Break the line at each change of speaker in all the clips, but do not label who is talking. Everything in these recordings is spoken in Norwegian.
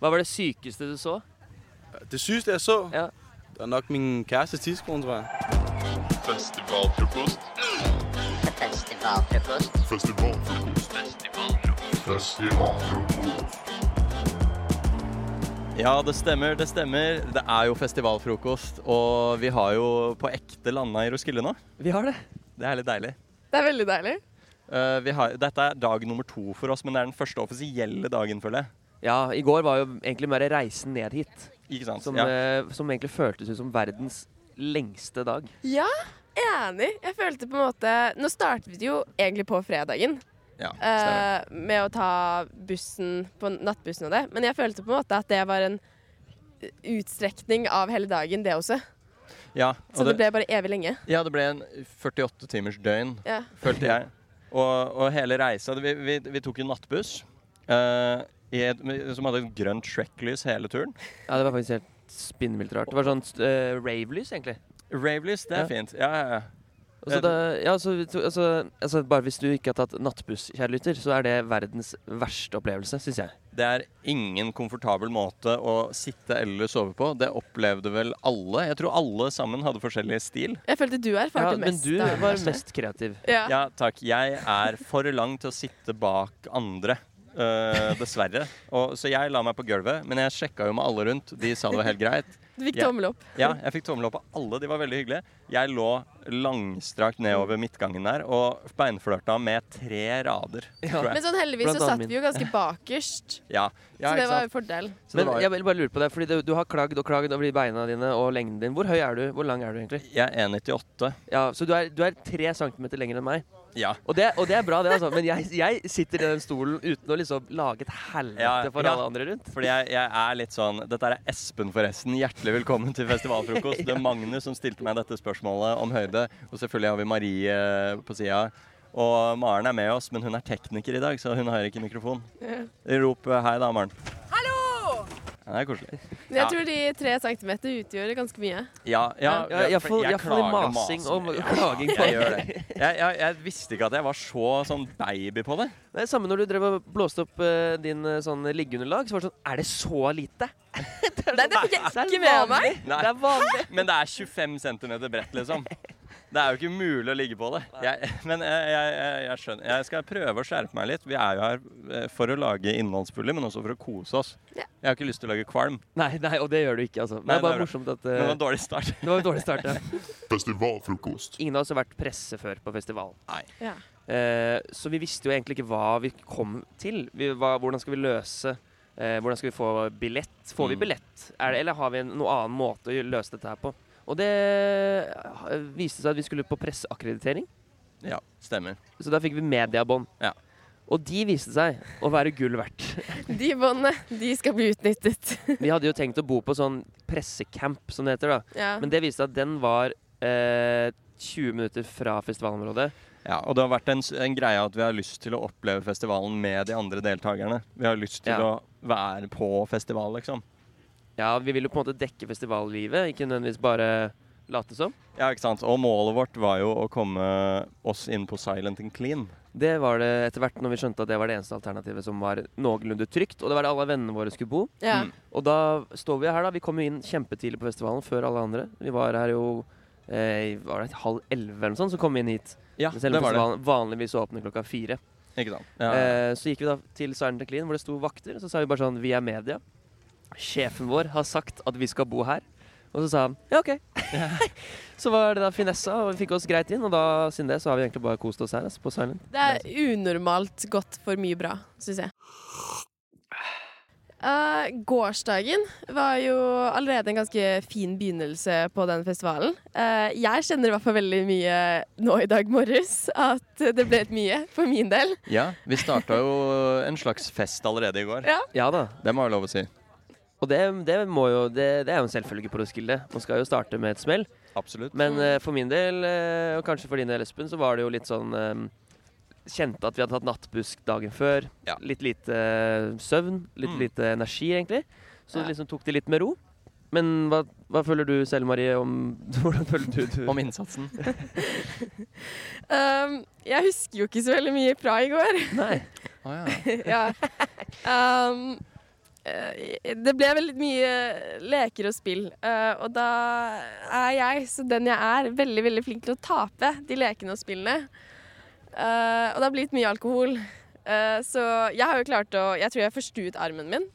Hva var det sykeste du så?
Det sygeste jeg så,
Ja.
det er nok min kæreste tidskone, tror jeg.
Festivalfrokost.
Festivalfrokost.
Festivalfrokost. Festivalfrokost.
Ja, det stemmer, det stemmer. Det er jo festivalfrokost, og vi har jo på ekte landa i Roskilde nå.
Vi har det.
Det er litt deilig.
Det er veldig deilig.
Eh, vi har, dette er dag nummer to for oss, men det er den første offisielle dagen, føler jeg.
Ja, i går var jo egentlig mer reisen ned hit,
Ikke sant?
som,
ja.
eh, som egentlig føltes ut som verdens lengste dag.
Ja, enig. Jeg følte på en måte Nå startet vi jo egentlig på fredagen
ja, stemmer.
eh, med å ta bussen på nattbussen og det, men jeg følte på en måte at det var en utstrekning av hele dagen, det også.
ja,
Så
og det,
det ble bare evig lenge.
ja, det ble en 48 timers døgn,
Ja.
følte jeg. Og, og hele reisa vi, vi, vi tok jo nattbuss, eh, i et, som hadde et grønt Shrek-lys hele turen.
Ja, det var faktisk helt spinnvilt rart. Det var sånn eh, rave-lys, egentlig.
Rave-lys, det
Ja.
er fint. Ja, ja, ja.
Og så da, ja, så, vi to- altså, altså, bare hvis du ikke har tatt nattbuss, kjære lytter, så er det verdens verste opplevelse, syns jeg.
Det er ingen komfortabel måte å sitte eller sove på. Det opplevde vel alle. Jeg tror alle sammen hadde forskjellig stil.
Jeg følte du
Ja,
erfarte
men
mest.
du
da.
var mest kreativ.
ja.
Ja, takk. Jeg er for lang til å sitte bak andre. eh, dessverre. Og, så jeg la meg på gulvet, men jeg sjekka jo med alle rundt. De sa det var helt greit.
Du fikk
Ja.
tommel opp.
Ja, jeg fikk tommel opp av alle. De var veldig hyggelige. Jeg lå langstrakt nedover midtgangen der og beinflørta med tre rader, tror
Men
jeg.
sånn heldigvis
Blant
så
annet
satt
min.
vi jo ganske bakerst,
Ja, ja
så det
ikke
var jo
sant.
fordelen.
Så det
Men
var-
jeg vil bare lure på deg, fordi det, du har klagd og klagd over de beina dine og lengden din. Hvor høy er du? Hvor lang er du egentlig?
jeg er 1,98.
Ja, Så du er, du er tre centimeter lenger enn meg.
Ja.
Og det, og det er bra, det, altså. Men jeg, jeg sitter i den stolen uten å liksom lage et helvete
Ja,
for
ja.
alle andre rundt.
Fordi jeg, jeg er litt sånn Dette er Espen, forresten. Hjertelig velkommen til festivalfrokost. Det er Magnus som stilte meg dette spørsmålet om høyde. Og selvfølgelig har vi Marie eh, på sida. Og Maren er med oss, men hun er tekniker i dag, så hun har ikke mikrofon. Rop eh, hei da, Maren.
Hallo!
Ja, det er koselig.
Men jeg tror de tre centimeter utgjorde ganske mye.
Ja, ja,
Ja, jeg får, jeg får litt
klager
masing og
maser.
klaging på
Jeg gjør det. Jeg, jeg, jeg visste ikke at jeg var så sånn baby på det.
Det er samme når du drev og blåste opp eh, din eh, sånn liggeunderlag. Så var det sånn Er det så lite?
Nei, det fikk jeg
Det er
ikke med meg.
vanlig.
Nei.
Det er vanlig.
Men det er 25 cm bredt, liksom. Det er jo ikke mulig å ligge på det. Jeg, men jeg, jeg, jeg, jeg skjønner. Jeg skal prøve å skjerpe meg litt. Vi er jo her eh, for å lage innholdsfulle, men også for å kose oss.
Ja.
Jeg har ikke lyst til å lage kvalm,
Nei, nei, og det gjør du ikke, altså. Men
Nei,
det er bare
det er
morsomt at
men det
eh,
var en dårlig start.
Det var en dårlig start, ja.
Festivalfrokost.
Ingen av oss har vært presse før på festival.
Nei.
Ja.
Eh, så vi visste jo egentlig ikke hva vi kom til. Vi, hva, hvordan skal vi løse eh, Hvordan skal vi få billett? Får vi
Mm.
billett? Er det, eller har vi en noen annen måte å gjø- løse dette her på? Og det eh, viste seg at vi skulle på presseakkreditering,
Ja, stemmer.
så da fikk vi mediebånd.
Ja.
Og de viste seg å være gull verdt.
De båndene, de skal bli utnyttet.
Vi hadde jo tenkt å bo på sånn pressecamp, som det heter. da
Ja.
Men det viste seg at den var eh, 20 minutter fra festivalområdet.
Ja, og det har vært en, s- en greie at vi har lyst til å oppleve festivalen med de andre deltakerne. Vi har lyst til
Ja.
å være på festival, liksom.
Ja, vi ville på en måte dekke festivallivet, ikke nødvendigvis bare late som.
Ja, ikke sant. Og målet vårt var jo å komme oss inn på Silent and Clean.
Det var det etter hvert når vi skjønte at det var det eneste alternativet som var noenlunde trygt. Og det var der alle vennene våre skulle bo.
ja.
Mm.
Og da står vi her, da. Vi kom jo inn kjempetidlig på festivalen før alle andre. Vi var her jo eh, var det halv elleve eller noe sånt, så kom vi inn hit.
Ja,
Selv om festivalen vanligvis åpner klokka fire.
Ikke sant. Ja.
Eh, så gikk vi da til Silent Clean, hvor det sto vakter. Så sa vi bare sånn Vi er media. Sjefen vår har sagt at vi skal bo her. Og så sa han ja, OK. så var det da finessa, og vi fikk oss greit inn. Og da, siden det så har vi egentlig bare kost oss her altså, på Silent.
Det er unormalt godt for mye bra, syns jeg. Eh, gårsdagen var jo allerede en ganske fin begynnelse på den festivalen. Eh, jeg kjenner i hvert fall veldig mye nå i dag morges at det ble litt mye for min del.
Ja, vi starta jo en slags fest allerede i går.
Ja.
Ja da.
Det må jeg lov å si.
Og det, det, må jo, det, det er jo en selvfølge på Roskilde. Man skal jo starte med et smell.
Absolutt.
Men eh, for min del, eh, og kanskje for din del, Espen, så var det jo litt sånn eh, Kjente at vi hadde tatt nattbusk dagen før.
Ja.
Litt lite eh, søvn. Litt
Mm.
lite energi, egentlig. Så
Ja.
liksom tok det litt med ro. Men hva, hva føler du selv, Marie, om Hvordan føler du, du?
Om innsatsen.
Um, jeg husker jo ikke så veldig mye fra i går.
Nei.
Å ja.
ja. um, eh, Det ble veldig mye leker og spill. eh, og da er jeg, så den jeg er, veldig veldig flink til å tape de lekene og spillene. Eh, og det har blitt mye alkohol. Eh, så jeg har jo klart å Jeg tror jeg forstuet armen min.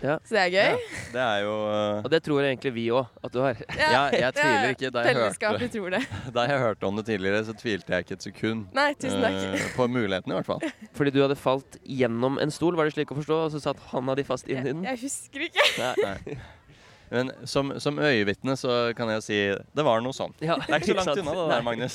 Ja.
Så det er gøy.
Det er jo eh,
Og det tror egentlig vi òg at du har.
ja, jeg tviler ikke. Da jeg hørte-
Fellesskapet tror det.
Da jeg hørte om det tidligere, så tvilte jeg ikke et sekund.
Nei, tusen takk.
eh, på muligheten, i hvert fall.
Fordi du hadde falt gjennom en stol, var det slik å forstå? Og så satt handa di fast inni den?
Jeg, jeg husker ikke.
Nei. Men som, som øyevitne så kan jeg si det var noe sånn.
Ja,
Det er ikke så langt unna det der, Magnus.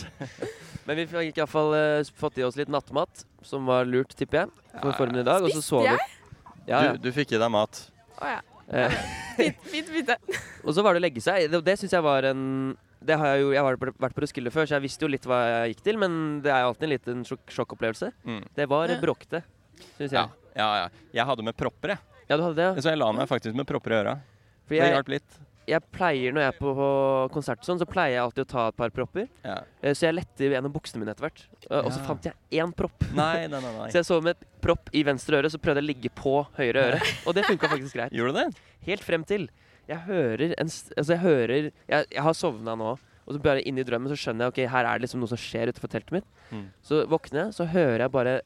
Men vi fikk iallfall uh, fått i oss litt nattmat, som var lurt, tipper jeg, for formen i dag. Og så
Spiste
sov vi.
jeg?
Ja, ja.
Du, du fikk i deg mat.
Å ja.
Eh,
Fint, fint bytte.
og så var det å legge seg. Det, det syns jeg var en det har jeg, jo, jeg har vært på- vært på Roskilde før, så jeg visste jo litt hva jeg gikk til. Men det er jo alltid en liten sjokk, sjokkopplevelse.
Mm.
Det var
Ja.
bråkte, syns jeg.
Ja.
Ja.
ja, ja. Jeg hadde med propper, jeg.
du hadde det, ja.
Så jeg la meg faktisk med propper i øra.
For
Det
jeg,
hjalp litt.
jeg pleier, når jeg er på konsert og sånn, så pleier jeg alltid å ta et par propper.
Ja.
Eh, Så jeg lette gjennom buksene mine etter hvert. Eh, Og så
Ja.
fant jeg én propp.
Nei, nei, nei.
Så jeg sov med propp i venstre øre, så prøvde jeg å ligge på høyre øre. Og det funka faktisk greit.
Gjorde du det?
Helt frem til jeg hører en st Altså, jeg hører Jeg, jeg har sovna nå, og så bare inni drømmen så skjønner jeg ok, her er det liksom noe som skjer utenfor teltet mitt.
Mm.
Så våkner jeg, så hører jeg bare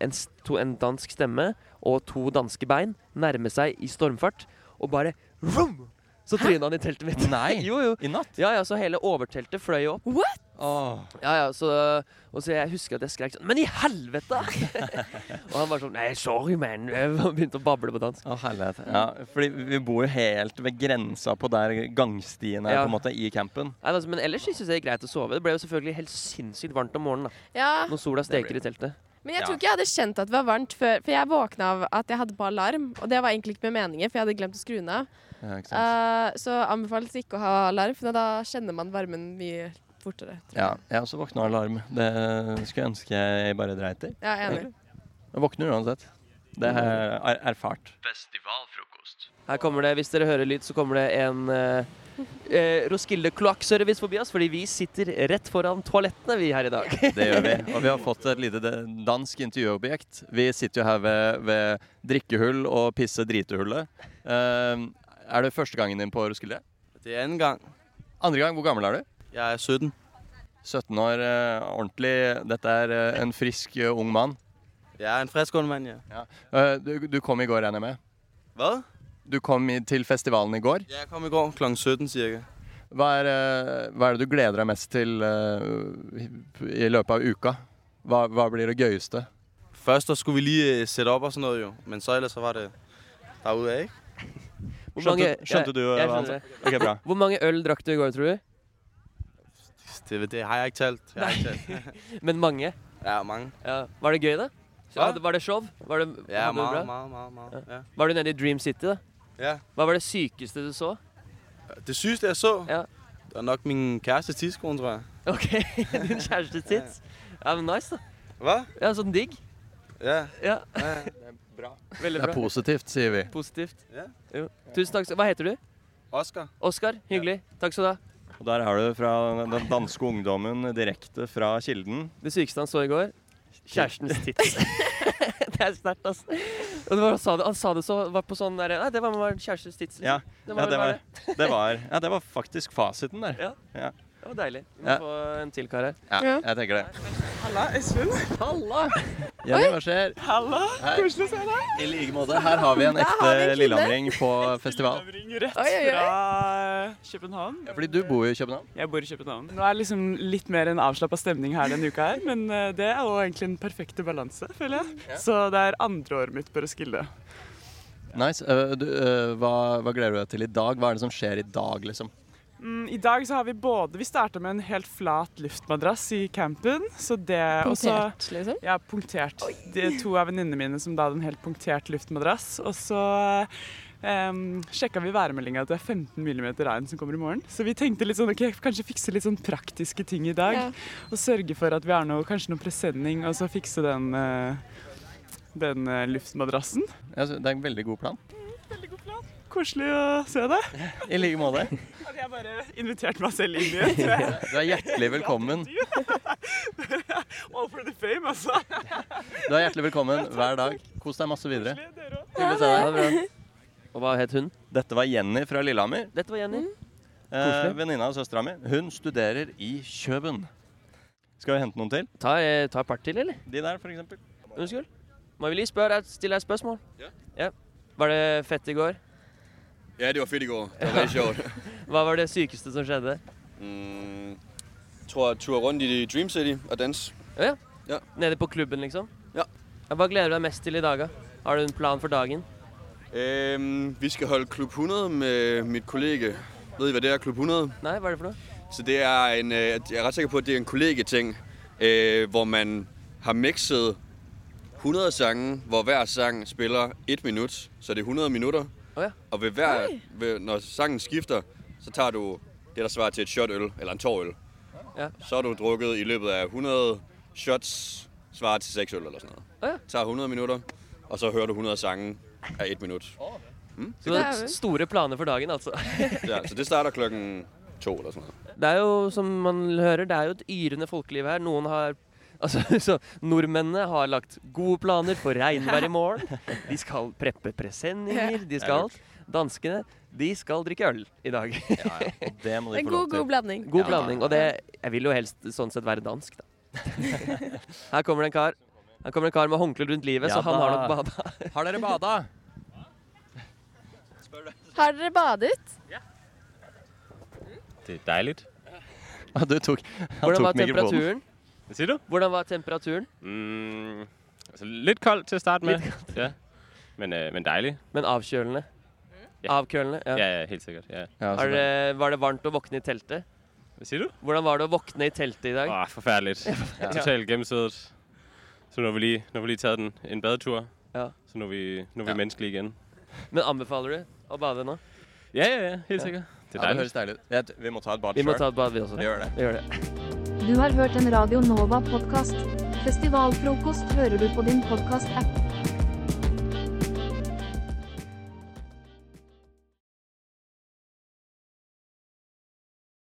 en, s- to, en dansk stemme og to danske bein nærme seg i stormfart, og bare vroom! Så tryna han i teltet mitt.
Nei.
Jo, jo.
I natt?
Ja, ja, så hele overteltet fløy jo opp.
Åh.
Ja, ja, så, og så jeg husker at jeg skrek sånn Men i helvete! og han var sånn Nei, sorry, man. Og begynte å bable på dansk.
Å, herlighet. Ja, fordi vi bor jo helt ved grensa på der gangstien er,
Ja.
på en måte, i campen.
Nei, altså, men ellers syns jeg det er greit å sove. Det ble jo selvfølgelig helt sinnssykt varmt om morgenen da
Ja,
når sola steker i
Det
teltet.
men jeg
Ja.
tror ikke jeg hadde kjent at det var varmt før, for jeg våkna av at jeg hadde på alarm, og det var egentlig ikke med meningen, for jeg hadde glemt å skru den av.
Ja, ikke sant?
Eh, så anbefales ikke å ha alarm, for da kjenner man varmen mye fortere. tror jeg.
Ja, jeg også våkna av alarm. Det skulle jeg ønske jeg bare dreit i.
Ja, jeg er enig.
Jeg våkner uansett. Det har jeg er erfart.
Her kommer det, Hvis dere hører lyd, så kommer det en eh, eh, Roskilde kloakkservice forbi oss, fordi vi sitter rett foran toalettene vi her i dag.
Det gjør vi. Og vi har fått et lite de- dansk intervjuobjekt. Vi sitter jo her ved, ved drikkehull og pisse dritehullet. Ehm, er det første gangen din på Roskilde?
Det er anden gang.
Andre gang, hvor gammel er du?
Jeg er 17.
17 år, eh, ordentlig. Dette er eh, en frisk eh, ung mann.
Jeg er en frisk ung mand, ja.
Eh, du, du kom i går, regner jeg med?
Hvad?
Du kom i, til festivalen i går.
Ja, jeg kom i går kl. 17 cirka.
Hva er, eh, hva er det du gleder deg mest til eh, i løpet av uka? Hva, hva blir det gøyeste?
Først der skulle vi lige øh, sætte op og sådan noget jo, men så ellers så var det derude af, ikke?
Hvor
Skjønte, skjønte du
jeg,
eh,
jeg
hva han
skjønner
sa?
det.
Ok, bra.
Hvor mange øl drakk du i går, tror du?
Det, det har jeg ikke talt. Jeg har ikke talt.
Men mange?
Ja, mange.
Ja. Var det gøy, da?
Hva?
Var det show? Var det,
Ja,
hadde du det
meget,
bra?
meget, meget, meget. Ja.
Var du nede i Dream City, da?
ja.
Hva var det sykeste du så?
Det sygeste, jeg så,
Ja.
det var nok min kæreste tidskone, tror jeg.
Ok, din kjæreste tits. Ja, men nice, da.
Hvad?
Ja, sånn digg.
Ja.
Ja,
ja.
Veldig
Det er
bra.
positivt, sier vi.
Positivt.
Ja.
Jo. Tusen takk. skal- Hva heter du?
Oscar.
Oskar. Hyggelig. Takk skal du ha.
Og der har du fra den danske ungdommen direkte fra Kilden.
Det sykeste han så i går, kjærestens tits. det er sterkt, altså. Og det var, han, sa det, han sa det så var på sånn derre Nei, det var med kjærestens tits. liksom.
Ja,
det
ja,
vel
det,
bare
var, det, var, ja, det var faktisk fasiten der.
Ja.
Ja.
det var deilig. Vi må
Ja.
få en til kar her.
Ja,
Ja.
jeg tenker det.
Halla, Espen.
Halla!
Jenny, hva skjer?
Halla.
Hei.
Koselig å se deg.
I like måte. Her har vi en
Der har vi
ekte
en kvinne.
lillehamring på festival.
Lillehamring rett
Oi, oi, oi.
fra København.
Ja, fordi du bor jo i København.
Jeg bor i København. Nå er det liksom litt mer en avslappa stemning her denne uka her, men eh, det er jo egentlig en perfekte balanse, føler jeg. Så det er andre året mitt på Roskilde.
Nice. Øh, du, øh, hva, hva gleder du deg til i dag? Hva er det som skjer i dag, liksom?
Mm, I dag så har vi både Vi starta med en helt flat luftmadrass i campen, så det og så-
Punktert, liksom.
Ja, punktert. De to av venninnene mine som da hadde en helt punktert luftmadrass. Og så um, sjekka vi værmeldinga at det er 15 mm regn som kommer i morgen. Så vi tenkte litt sånn, ok, kanskje fikse litt sånn praktiske ting i dag.
Ja.
Og sørge for at vi har noe, kanskje noe presenning, og så fikse den, eh, den eh, luftmadrassen.
Ja, så det er en veldig god plan.
Koselig å se deg.
I like måte.
Hadde jeg bare invitert meg selv inn i et
Du er hjertelig velkommen.
All for the fame, altså.
Du er hjertelig velkommen hver dag. Kos deg masse videre.
Dere også.
Hyggelig å se deg.
Ha det bra. Og hva het hun? Mm.
Dette var Jenny fra Lillehammer.
Dette var Jenny.
Eh,
Koselig.
Venninna av søstera mi. Hun studerer i Kjøben. Skal vi hente noen til?
Ta, eh, ta et par til, eller?
De der, for eksempel.
Unnskyld? Må vi lige spørre deg, stille deg et spørsmål?
Ja.
Var det fett i går?
Ja, det var fedt i går. Det var rigtig sjovt.
Hva var det sykeste som skjedde?
Mm, tror jeg turer rundt i Dream City og dans.
Nede på klubben, liksom?
Ja.
Ja, Hva gleder du deg mest til i dag? da? Har du en plan for dagen?
Øhm, vi skal holde Klub 100 med mit kollega. Ved I, hvad det er, Klub 100?
Nei, hva er det for noe?
Så det er en, øh, jeg er ret sikker på, at det er en kollegeting, øh, hvor man har mixet 100 sange, hvor hver sang spiller 1 minut, så det er 100 minutter.
Åh ja.
Og ved hver, ved, når sangen skifter, så tager du det, der svarer til et shot øl, eller en tår øl.
Ja.
Så har du drukket i løbet af 100 shots, svarer til 6 øl eller sådan noget.
Åh ja.
Tager 100 minutter, og så hører du 100 sange af 1 minut.
Så du har s- store planer for dagen, altså.
Ja, så det starter klokken 2 eller sådan noget.
Det er jo, som man hører, det er jo et yrende folkeliv her. Noen har Altså, så Nordmennene har lagt gode planer for regnvær i morgen. De skal preppe presenninger. De skal Danskene de skal drikke øl i dag.
Ja, ja. Det må de
En
få lov
god, god
til.
blanding.
God
Ja.
blanding. Og det, jeg vil jo helst sånn sett være dansk, da. Her kommer det en kar. Her kommer det en kar med håndkle rundt livet,
Ja
så han har
da.
nok bada.
Har dere bada?
Har dere badet?
Det er dejligt.
Ja, du tok, han
Hvordan
tok
var
mikrofonen.
temperaturen?
Hvad siger du?
Hvordan var temperaturen?
Mm, altså lidt koldt til at starte med.
Lidt
Ja. Men, øh, men dejligt.
Men avkjølende?
Ja.
Avkølende?
Ja.
Ja.
ja, helt sikkert. Ja.
Ja,
Har det, var det varmt å våkne i teltet?
Hvad siger du?
Hvordan var det å våkne i teltet i dag?
Åh, forfærdeligt. ja. Totalt gennemsødet. Så nu har vi lige, nu har vi lige taget den, en badetur.
Ja.
Så nu er vi, nu er vi
Ja.
menneskelige igen.
Men anbefaler du å bade nå?
Ja, ja, ja. Helt sikkert.
Ja,
Det er
det
dejligt.
høres deilig ut. Jeg t- Vi må ta et bad
Vi må
sjøl.
ta et bad, vi også.
Vi gjør det.
Vi gjør det.
Du har hørt en Radio Nova-podkast. Festivalfrokost hører du på din podkast-app.